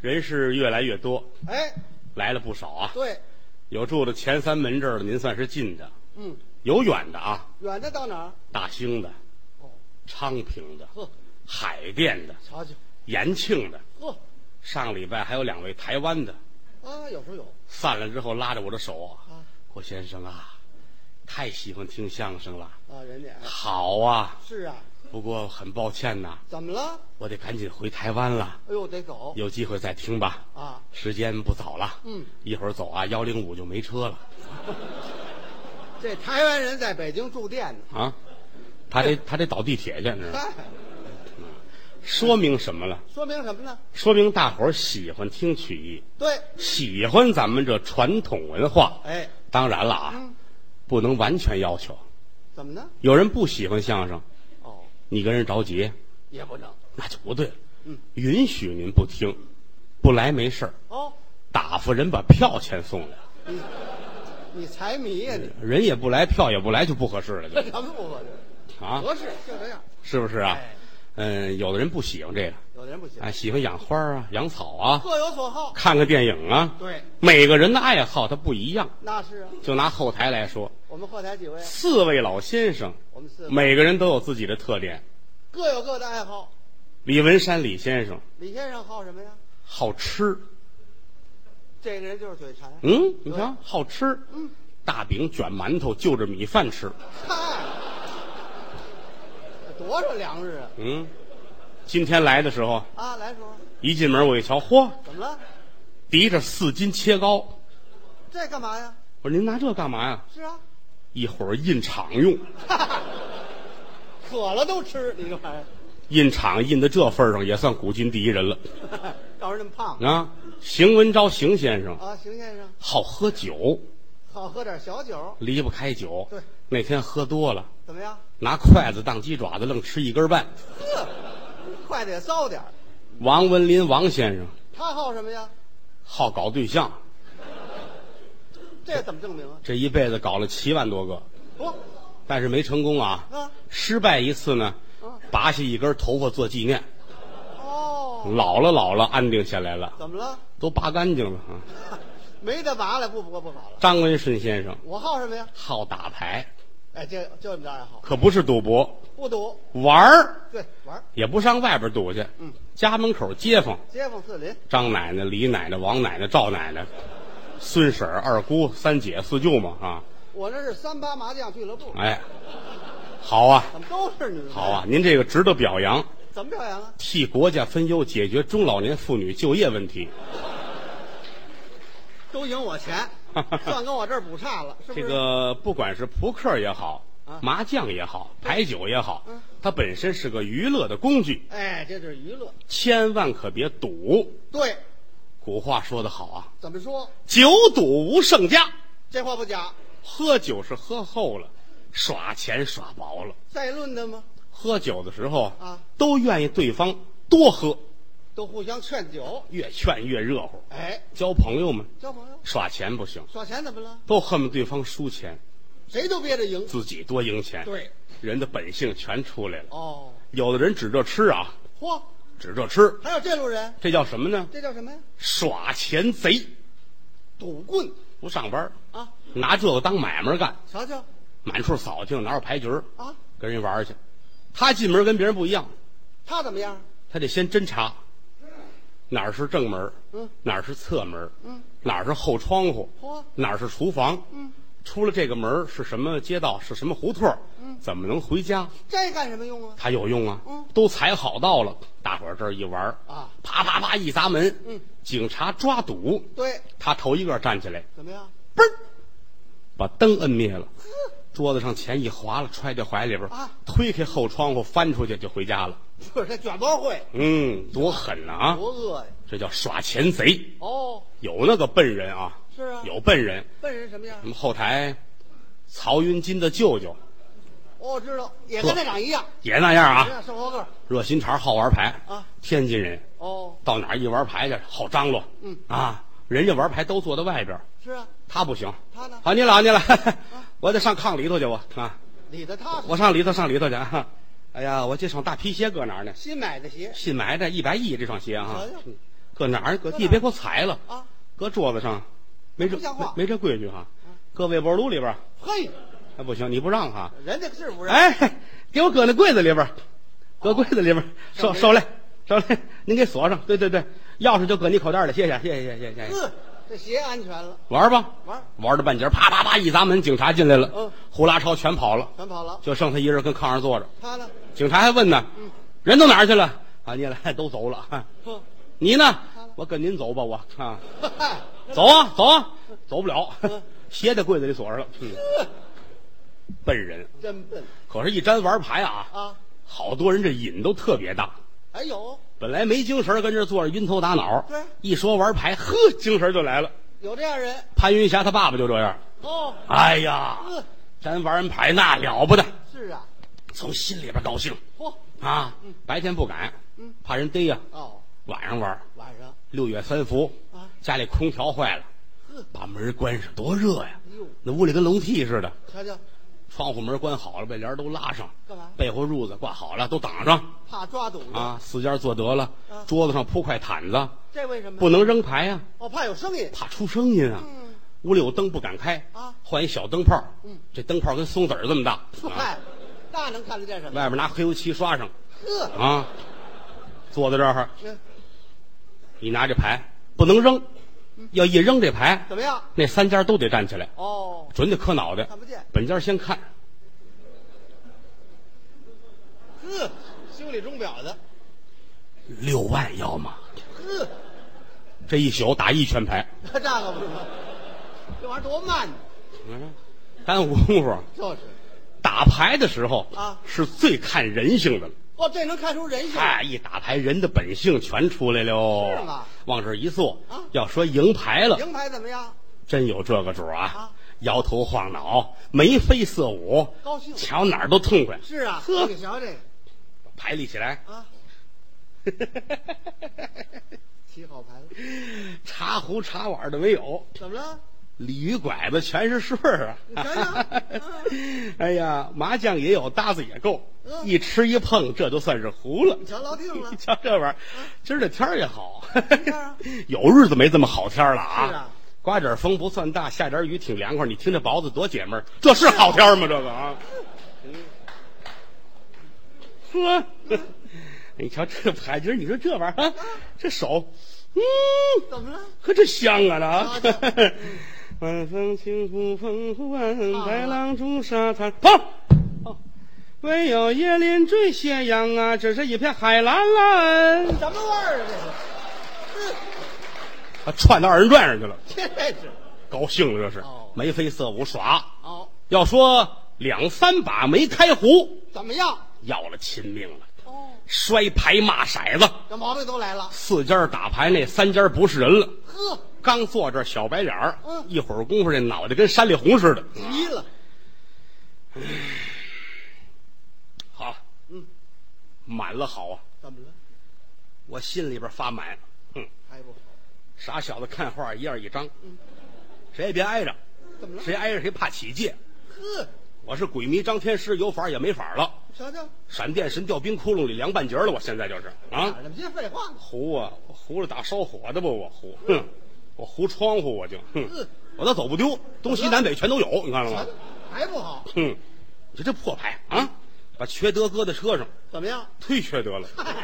人是越来越多，哎，来了不少啊。对，有住的前三门这儿的，您算是近的；嗯，有远的啊，远的到哪儿？大兴的、哦，昌平的、呵，海淀的、瞧瞧，延庆的。呵，上礼拜还有两位台湾的，啊，有时候有散了之后拉着我的手啊，啊郭先生啊，太喜欢听相声了，啊，人家哎好啊。是啊，不过很抱歉呐、怎么了？我得赶紧回台湾了，哎呦，得走有机会再听吧。啊，时间不早了，嗯，一会儿走啊，幺零五就没车了这台湾人在北京住店呢，啊。他得他得倒地铁去，你知道吗嗨，说明什么了？说明什么呢？说明大伙儿喜欢听曲艺，对，喜欢咱们这传统文化。哎，当然了啊嗯，不能完全要求。怎么呢？有人不喜欢相声，哦，你跟人着急，也不能那就不对了。嗯，允许您不听，不来没事儿，哦，打发人把票钱送来，你你财迷呀、你，人也不来，票也不来，就不合适了，这就什么不合适？啊，合适就这样。是不是啊哎？嗯，有的人不喜欢这个，有的人不行，啊，喜欢养花啊、养草啊，各有所好。看看电影啊。对，每个人的爱好它不一样。那是啊。就拿后台来说，我们后台几位，四位老先生，我们四个每个人都有自己的特点。各有各的爱好。李文山李先生李先生好什么呀？好吃，这个人就是嘴馋。嗯，你瞧，好吃，嗯，大饼卷馒头就着米饭吃，嗨，多少粮食啊！嗯。今天来的时候，啊，来时候一进门我一瞧，嚯，怎么了？提着四斤切糕，这干嘛呀？我说您拿这干嘛呀？是啊，一会儿印厂用，渴了都吃，你这玩 意印厂印到这份儿上也算古今第一人了儿，要是那么胖啊！邢文昭邢先生啊，邢先生好喝酒，好喝点小酒，离不开酒。对，那天喝多了，怎么样？拿筷子当鸡爪子，愣吃一根半。呵，快得骚点儿王文林王先生他好什么呀？好搞对象，这怎么证明啊？这一辈子搞了七万多个，不、但是没成功啊。啊，失败一次呢嗯，拔下一根头发做纪念。哦，老了老了，安定下来了，怎么了？ 都拔干净了啊。没得拔了，不不不好了。张文顺先生我好什么呀？好打牌，哎，这就这么着爱好，可不是赌博，不赌，玩儿对，玩儿也不上外边赌去。嗯，家门口街坊，街坊四邻，张奶奶、李奶奶、王奶奶、赵奶奶、孙婶儿、二姑、三姐、四舅嘛啊，我这是三八麻将俱乐部，哎，好啊，怎么都是女的？好啊，，您这个值得表扬，怎么表扬啊？替国家分忧，解决中老年妇女就业问题。都赢我 钱，算跟我这儿补差了，是不这是？个不管是扑克也好啊，麻将也好，牌九也好嗯，它本身是个娱乐的工具，哎，这就是娱乐。千万可别赌。对，古话说得好啊，怎么说？酒赌无胜家。这话不假，喝酒是喝厚了，耍钱耍薄了。再论的吗？喝酒的时候啊，都愿意对方多喝，都互相劝酒。越劝越热乎。哎，交朋友们交朋友，耍钱不行，耍钱怎么了？都恨不得对方输钱，谁都憋着赢。自己多赢钱。，对，人的本性全出来了。哦，有的人指着吃啊，嚯，指着吃，还有这路人，这叫什么呢？这叫什么呀？耍钱贼，赌棍不上班，啊！拿这个当买卖干，瞧瞧满处扫听，哪有牌局儿啊，跟人玩儿去。他进门跟别人不一样，他怎么样？他得先侦查，哪儿是正门，嗯，哪儿是侧门，嗯，哪儿是后窗户，嚯，哪儿是厨房，嗯，出了这个门儿是什么街道，是什么胡同儿，怎么能回家？这干什么用啊？他有用啊，嗯都踩好道了，大伙儿这儿一玩儿啊，啪啪啪一砸门，嗯，警察抓赌，对，他头一个站起来，怎么样？ 嘣儿，把灯摁灭了，桌子上钱一划了，揣在怀里边儿啊推开后窗户翻出去就回家了。不是这卷包会，嗯，多狠呐啊！多饿呀！这叫耍钱贼，哦，有那个笨人啊，是啊，有笨人。笨人什么样我？们后台，曹云金的舅舅哦，知道，也跟呵那长一样，也那样啊，一样瘦高个儿。热心肠，好玩牌啊，天津人，哦，到哪儿一玩牌去，好张罗。嗯啊，人家玩牌都坐在外边儿，是啊，他不行。他呢？好，你老你 老，我得上炕里头去，我啊，理得踏实。我上里头上里头去啊。哎呀，我这双大皮鞋搁哪儿呢？新买的鞋，哎新买的，一百一这双鞋啊瞧瞧。搁哪儿？搁搁地哪儿别给我踩了，啊，搁桌子上，没这不像话嗯没没这规矩哈。搁微波炉里边儿，嘿，哎不行，你不让哈。人家是不哦是？哎，给我搁那柜子里边儿，搁柜子里边儿，收收来，收来，您给锁上。对对对，钥匙就搁你口袋里，谢谢谢谢谢谢谢谢。呵，嗯这鞋安全了，玩吧，玩儿玩到半截儿，啪啪啪一砸门，警察进来了，嗯呼啦超全跑了，全跑了。就剩他一人跟炕上坐着。他呢？警察还问呢，嗯人都哪儿去了？啊，你来都走了。啊哼，你呢他呢？我跟您走吧，我啊，嗨，走啊走啊，走不了 嗯，鞋在柜子里锁上了。嗯，笨人，真笨可是，一沾玩牌啊，啊！好多人这瘾都特别大。哎有本来没精神儿，跟这儿坐着晕头打脑。对一说玩牌，呵，精神儿就来了。有这样人潘云霞他爸爸就这样。哦，哎呀，呵，咱玩完牌那了不得，是啊，从心里边高兴嚯啊。白天不敢嗯，怕人逮呀。哦，晚上玩，晚上六月三伏啊，家里空调坏了呵，把门关上，多热呀哎呦！那屋里跟笼屉似的，瞧瞧，窗户门关好了，被帘儿都拉上，干嘛被窝褥子挂好了，都挡上怕抓赌的，啊。四间坐得了啊，桌子上铺块毯子，这为什么？不能扔牌呀。哦，怕有声音。怕出声音啊。嗯屋里有灯不敢开啊换一小灯泡。嗯，这灯泡跟松子儿这么 大。啊嗨，那能看得见什么？外边拿黑油漆刷上呵，啊，坐在这儿，嗯你拿这牌不能扔，嗯要一扔这牌，怎么样？那三家都得站起来，哦，准得磕脑袋。看不见。本家先看，呵，修理钟表的。六万要吗？呵，这一宿打一圈牌，那这可不是吗？这玩意儿多慢呢，嗯 耽误功夫。就是。打牌的时候啊是最看人性的了。哦，这能看出人性。哎，一打牌，人的本性全出来是了吗。往这儿一坐啊，要说赢牌了，赢牌怎么样？真有这个主儿啊啊！摇头晃脑，眉飞色舞，高兴瞧哪儿都痛快。是啊，呵你瞧这个牌立起来， 啊，起好牌了。茶壶茶碗的没有，怎么了？鲤鱼拐子全是顺儿啊！你瞧瞧 哎呀，麻将也有，搭子也够，嗯一吃一碰，这就算是胡了你。瞧老定了嗯你。 瞧这玩意儿，今儿这天儿也好 看啊，有日子没这么好天儿了啊！是啊刮点风不算大，下点雨挺凉快。你听这雹子多解闷儿，这是好天儿吗？这个 啊，呵， 哎你瞧这牌局，你说这玩意儿啊，这手，嗯，怎么了？呵，这香啊！这啊啊这，晚风轻拂澎湖湾，啊白浪逐沙滩。跑，唯有椰林缀斜阳啊，只是一片海蓝蓝。什么味儿啊？啊，串到二人转上去了，这是，这是。高兴了这是哦，眉飞色舞耍。哦，要说两三把没开胡，怎么样？要了亲命了，哦，摔牌骂骰子，这毛病都来了。四家打牌那三家不是人了。呵，刚坐这儿小白脸儿，嗯一会儿功夫这脑袋跟山里红似的。急了。好，嗯，满了好啊，怎么了？我心里边发满。哼，还不好？傻小子看画一样一张，嗯谁也别挨着，怎么了？谁挨着谁怕起戒。呵，我是鬼迷张天师，有法也没法了。瞧瞧，闪电神掉冰窟窿里凉半截了，我现在就是啊哪，那么些废话呢？糊啊，我糊了打烧火的吧，我糊，哼，我糊窗户我就，哼嗯，我倒走不丢，东西南北全都有，你看了瞧吗瞧？哎还不好？哼，你说这破牌嗯啊，把缺德搁在车上，怎么样？忒缺德了，嗨，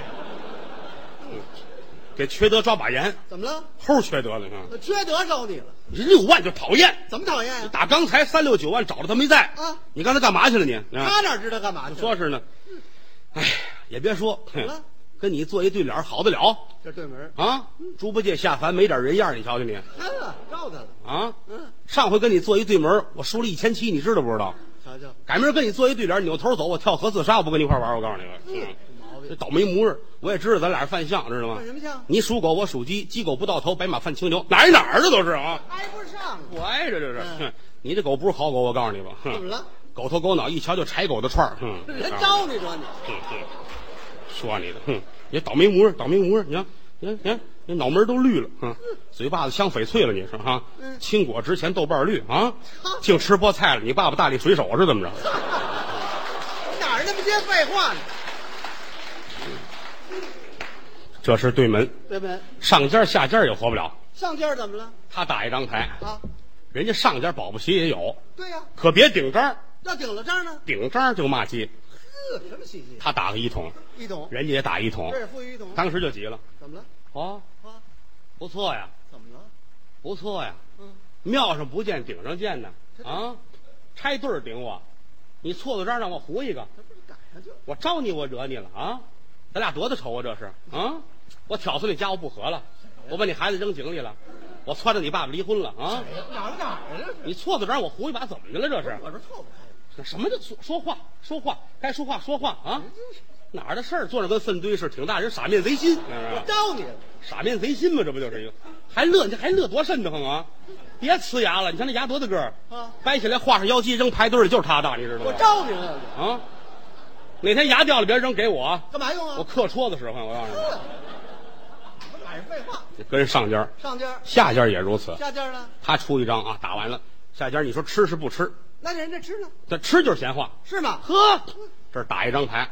给缺德抓把盐，怎么了？齁缺德了，你看。我缺德招你了？你这六万就讨厌。怎么讨厌呀？打刚才三六九万找着他没在啊你刚才干嘛去了你？啊，他哪知道干嘛去？说是呢，哎，也别说，么嗯了哼跟你做一对脸好得了这对门儿，啊！嗯猪八戒下凡没点人样，你瞧瞧你看了，照他了。啊！嗯，上回跟你做一对门，我输了一千七，你知道不知道？瞧瞧，改明儿跟你做一对脸，扭头走，我跳河自杀，我不跟你一块玩，我告诉你们，嗯有毛这嗯病。倒霉模样，我也知道咱俩是犯相，知道吗干？什么像？你属狗，我属鸡，鸡狗不到头，白马犯青牛，哪儿哪儿的都是啊！挨不上。不挨着这是。嗯哼你这狗不是好狗，我告诉你吧。哼怎么了？狗头狗脑，一瞧就柴狗的串儿。哼，啊人招你说你，哼哼说你的，哼，也倒霉模样，倒霉模样。你看，你看，你看，你脑门都绿了，哼，嘴巴子香翡翠了，你是哈？嗯青果值钱，豆瓣绿啊，净吃菠菜了。你爸爸大力水手是怎么着？哪儿那么些废话呢？这是对门，对门上家下家也活不了。上家怎么了？他打一张牌，啊，人家上家保不齐也有，对呀、可别顶张，要顶了账呢。顶张就骂街。呵，什么喜剧？他打个一桶，一桶，人家也打一桶这，也富裕一桶，当时就急了。怎么了？哦，啊，不错呀，怎么了？不错呀，嗯，庙上不见顶上见呢。啊，拆对儿顶我，你错错张让我胡一个，这不是赶上就我招你我惹你了啊？咱俩多大仇啊这是啊？我挑唆你家务不和了，我把你孩子扔井里了，我撺掇你爸爸离婚了啊？哎哪儿哪儿了？你错错张我胡一把怎么的了这是？我这错不开，那什么叫说说话说话该说话说话啊？哪儿的事儿？坐那跟粪堆似的，挺大人傻面贼心，我招你了。傻面贼心嘛，这不就是一个？还乐你还乐多瘆得慌啊！别呲牙了，你看那牙多大个儿啊掰起来画上腰肌扔排队里就是他大，你知道吗？我招你了，啊！哪天牙掉了别扔给我啊，干嘛用啊？我刻戳子使唤，我告诉你我哪是废话？，你跟上家儿上家儿下家儿也如此，下家儿呢？他出一张啊，打完了下家儿你说吃是不吃？那人家吃呢？嗯这吃就是闲话，是吗？呵，这儿打一张牌，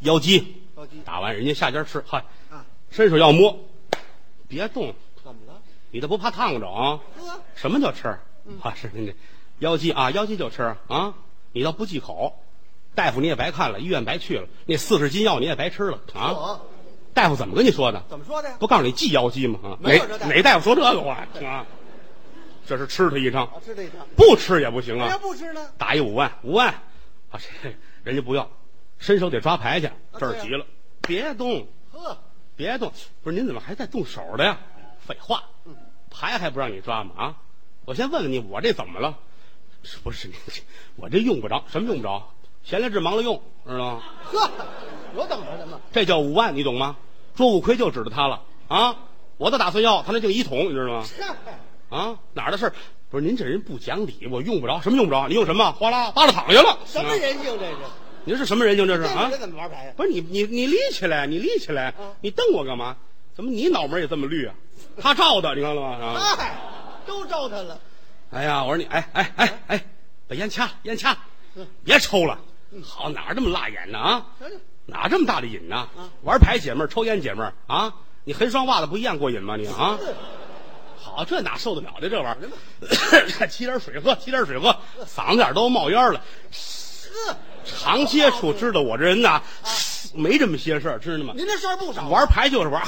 腰肌着急打完人家下家儿吃，嗨，啊？伸手要摸，别动，怎么了？你这不怕烫着啊？呵，什么叫吃？嗯啊，是您这腰肌啊，腰肌就吃啊。你要不忌口，大夫你也白看了，医院白去了，那四十斤药你也白吃了啊。我大夫怎么跟你说的？怎么说的呀？不告诉你忌腰肌吗？啊，没哪有这大夫哪大夫说这个我啊？这是吃他一张，我吃这一套。不吃也不行要啊。不吃呢？打一五万，五万啊，这人家不要，伸手得抓牌去。这儿啊急了，别动，呵，别动！不是您怎么还在动手的呀？废话，嗯牌还不让你抓吗？啊！我先问问你，我这怎么了？是不是你，我这用不着，什么用不着？闲来治忙了用，知道吗？呵，我等着什么？这叫五万，你懂吗？捉五亏就指着他了啊！我都打算要，他那净一桶，你知道吗？啊，哪儿的事儿？不是您这人不讲理，我用不着，什么用不着？你用什么？哗啦，扒拉躺下了。什么啊？人性这是？您是什么人性？这是这啊女？的怎么玩牌呀？不是你你你立起来，你立起来嗯，你瞪我干嘛？怎么你脑门也这么绿啊？他照的，你看了吗？啊！哎，都招他了。哎呀，我说你，哎哎哎哎，把烟掐了，烟掐了，别抽了。好，哪儿这么辣眼呢啊？瞧瞧，哪这么大的瘾呢啊？玩牌姐妹儿，抽烟姐妹儿啊？你横双袜子不一样过瘾吗？你啊？好，这哪受得了的这玩意儿？ 沏点水喝，沏点水喝，嗓子眼儿都冒烟了。呵，常接触知道我这人呐，没这么些事儿，知道吗？您这事儿不少。玩牌就是玩，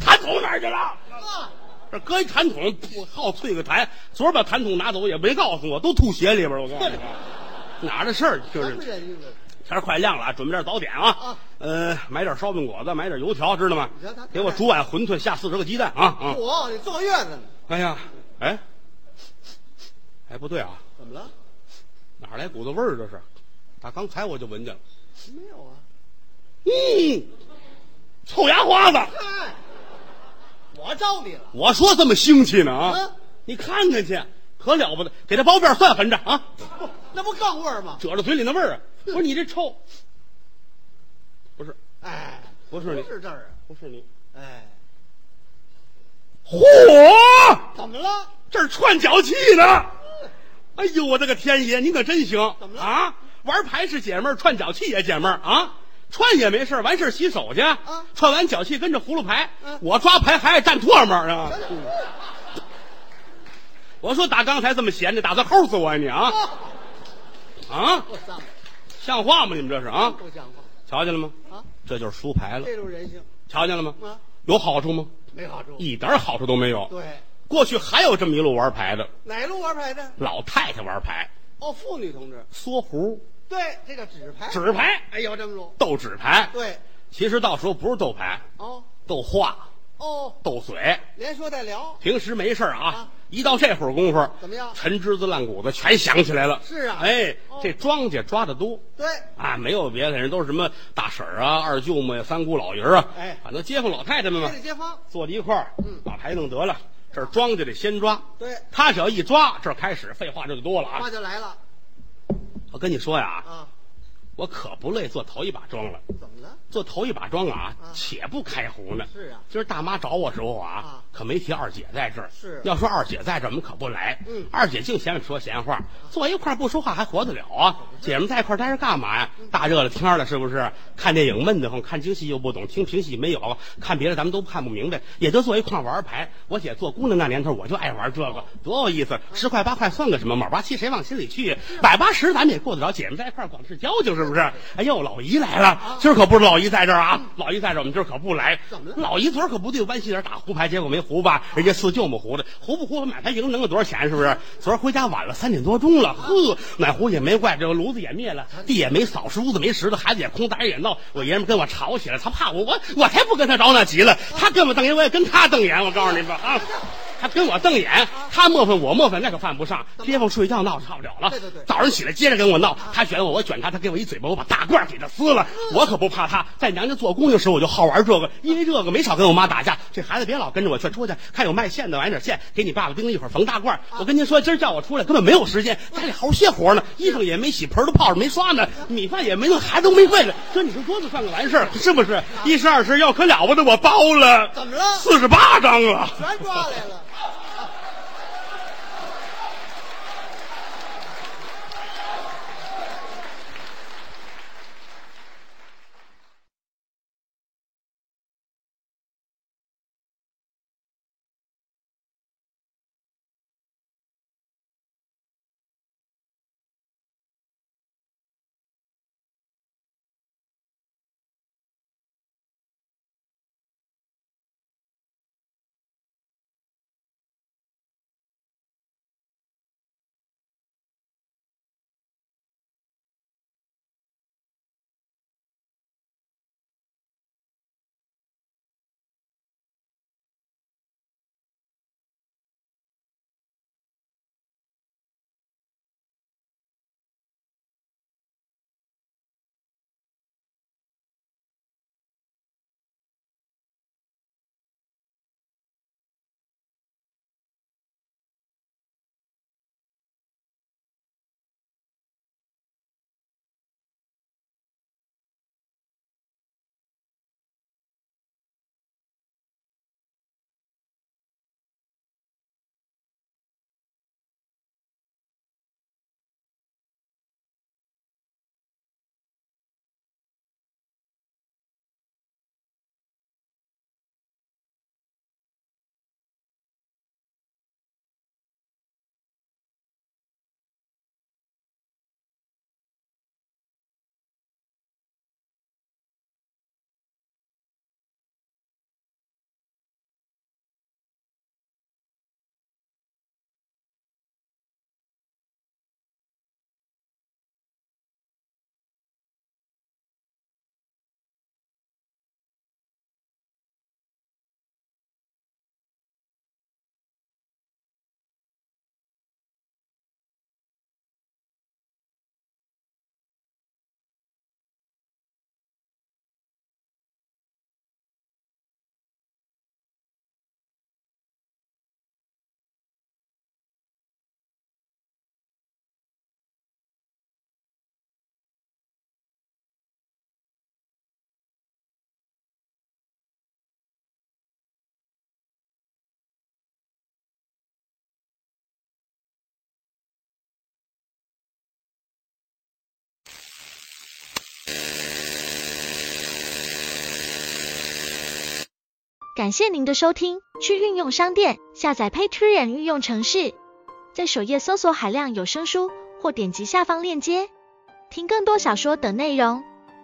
痰桶哪儿去了？呵，这搁一痰桶，我好啐个痰。昨儿把痰桶拿走也没告诉我，都吐血里边儿。我告诉 你，哪儿的事儿就什是么人性这是？天儿快亮了啊，准备点早点啊啊。呃，买点烧饼果子，买点油条，知道吗行行？给我煮碗馄饨，下四十个鸡蛋啊啊！我你坐月子呢？哎呀，哎，哎，不对啊，怎么了？哪儿来股子味儿？这是，打刚才我就闻见了。没有啊。嗯，臭牙花子，嗨，哎我招你了。我说这么腥气呢啊嗯！你看看去，可了不得，给他包辫儿算横着啊，那不更味儿吗？褶着嘴里那味儿啊！嗯不是你这臭，不是哎，不是你不是这儿啊。不是你，哎，嚯！怎么了？这儿串脚气呢。哎呦，我的个天爷，您可真行！怎么了啊？玩牌是姐妹儿，串脚气也姐妹儿啊。串也没事儿完事儿洗手去。啊串完脚气跟着葫芦牌，嗯我抓牌还爱蘸唾沫儿啊。瞧瞧我说打刚才这么闲着，打算齁死我呀、你啊呵嗯啊！我脏，像话吗？你们这是啊？不像话瞧见了吗？啊！这就是输牌了这。种人性瞧见了吗？啊，有好处吗？没好处。一点儿好处都没有。对，过去还有这么一路玩牌的，哪路玩牌的？老太太玩牌，哦，妇女同志。缩胡、对，这个纸牌。。纸牌，哎，有这么路。斗纸牌。对。其实到时候不是斗牌，哦斗话、哦，斗嘴。连说带聊。平时没事儿啊啊，一到这会儿功夫，怎么样陈枝子烂谷子全想起来了。是啊哎哦，这庄稼抓的多对，啊，没有别的人，都是什么大婶儿啊、二舅母呀、三姑老爷儿啊，哎嗯反正街坊老太太们嘛这，得街坊。坐在一块儿，把牌弄得了。这儿庄稼得先抓，对，他只要一抓，这儿开始废话这就多了啊话！就来了我跟你说呀，啊！我可不累做头一把庄了。怎么了？做头一把庄啊啊，且不开胡呢。是啊今儿大妈找我时候啊啊，可没提二姐在这儿。是要说二姐在这儿，我们可不来。嗯二姐净嫌我说闲话，坐一块儿不说话还活得了啊？嗯姐们在一块儿待着干嘛呀？大热了天儿了，是不是？看电影闷得慌，看京戏又不懂，听评戏没有，看别的咱们都看不明白，也就坐一块儿玩儿牌。我姐做姑娘那年头，我就爱玩这个，多有意思！嗯十块八块算个什么？毛八七谁往心里去？百八十咱们也过得着，姐们在一块儿光是交情，是不是？嗯哎呦，老姨来了，今儿可不是老姨在这儿啊！老姨在这儿，我们今儿可不来。啊怎么了老姨昨儿可不对弯西人打胡牌，结果没胡吧？人家四舅母胡的，胡不胡买牌赢能有多少钱？是不是？昨儿回家晚了，三点多钟了，呵，暖壶也没怪，这个炉子也灭了，地也没扫拾，屋子没拾的，孩子也空，大人也闹，我爷们跟我吵起来，他怕我，我我才不跟他着那急了，他跟我瞪眼，我也跟他瞪眼，我告诉你吧啊。他跟我瞪啊眼，他磨蹭我磨蹭，那可犯不上。街坊睡觉闹差不了了。对对对啊早上起来接着跟我闹，他卷我，我卷他，他给我一嘴巴，我把大褂给他撕了。嗯我可不怕他，在娘家做姑娘时我就好玩这个，因为这个没少跟我妈打架。这孩子别老跟着我去，出去看有卖线的买点线，给你爸爸盯着一会儿缝大啊褂。我跟您说，今儿叫我出来根本没有时间，嗯家里好好歇活呢，衣裳也没洗，盆儿都泡着没刷呢，米饭也没弄，孩子都没喂了。这你说多子算个完事儿是不是？一十二十要可了不得，我包了，嗯怎么了四十八张了。全抓来了。感谢您的收听，去应用商店下载 Patreon 应用城市，在首页搜索海量有声书，或点击下方链接听更多小说等内容。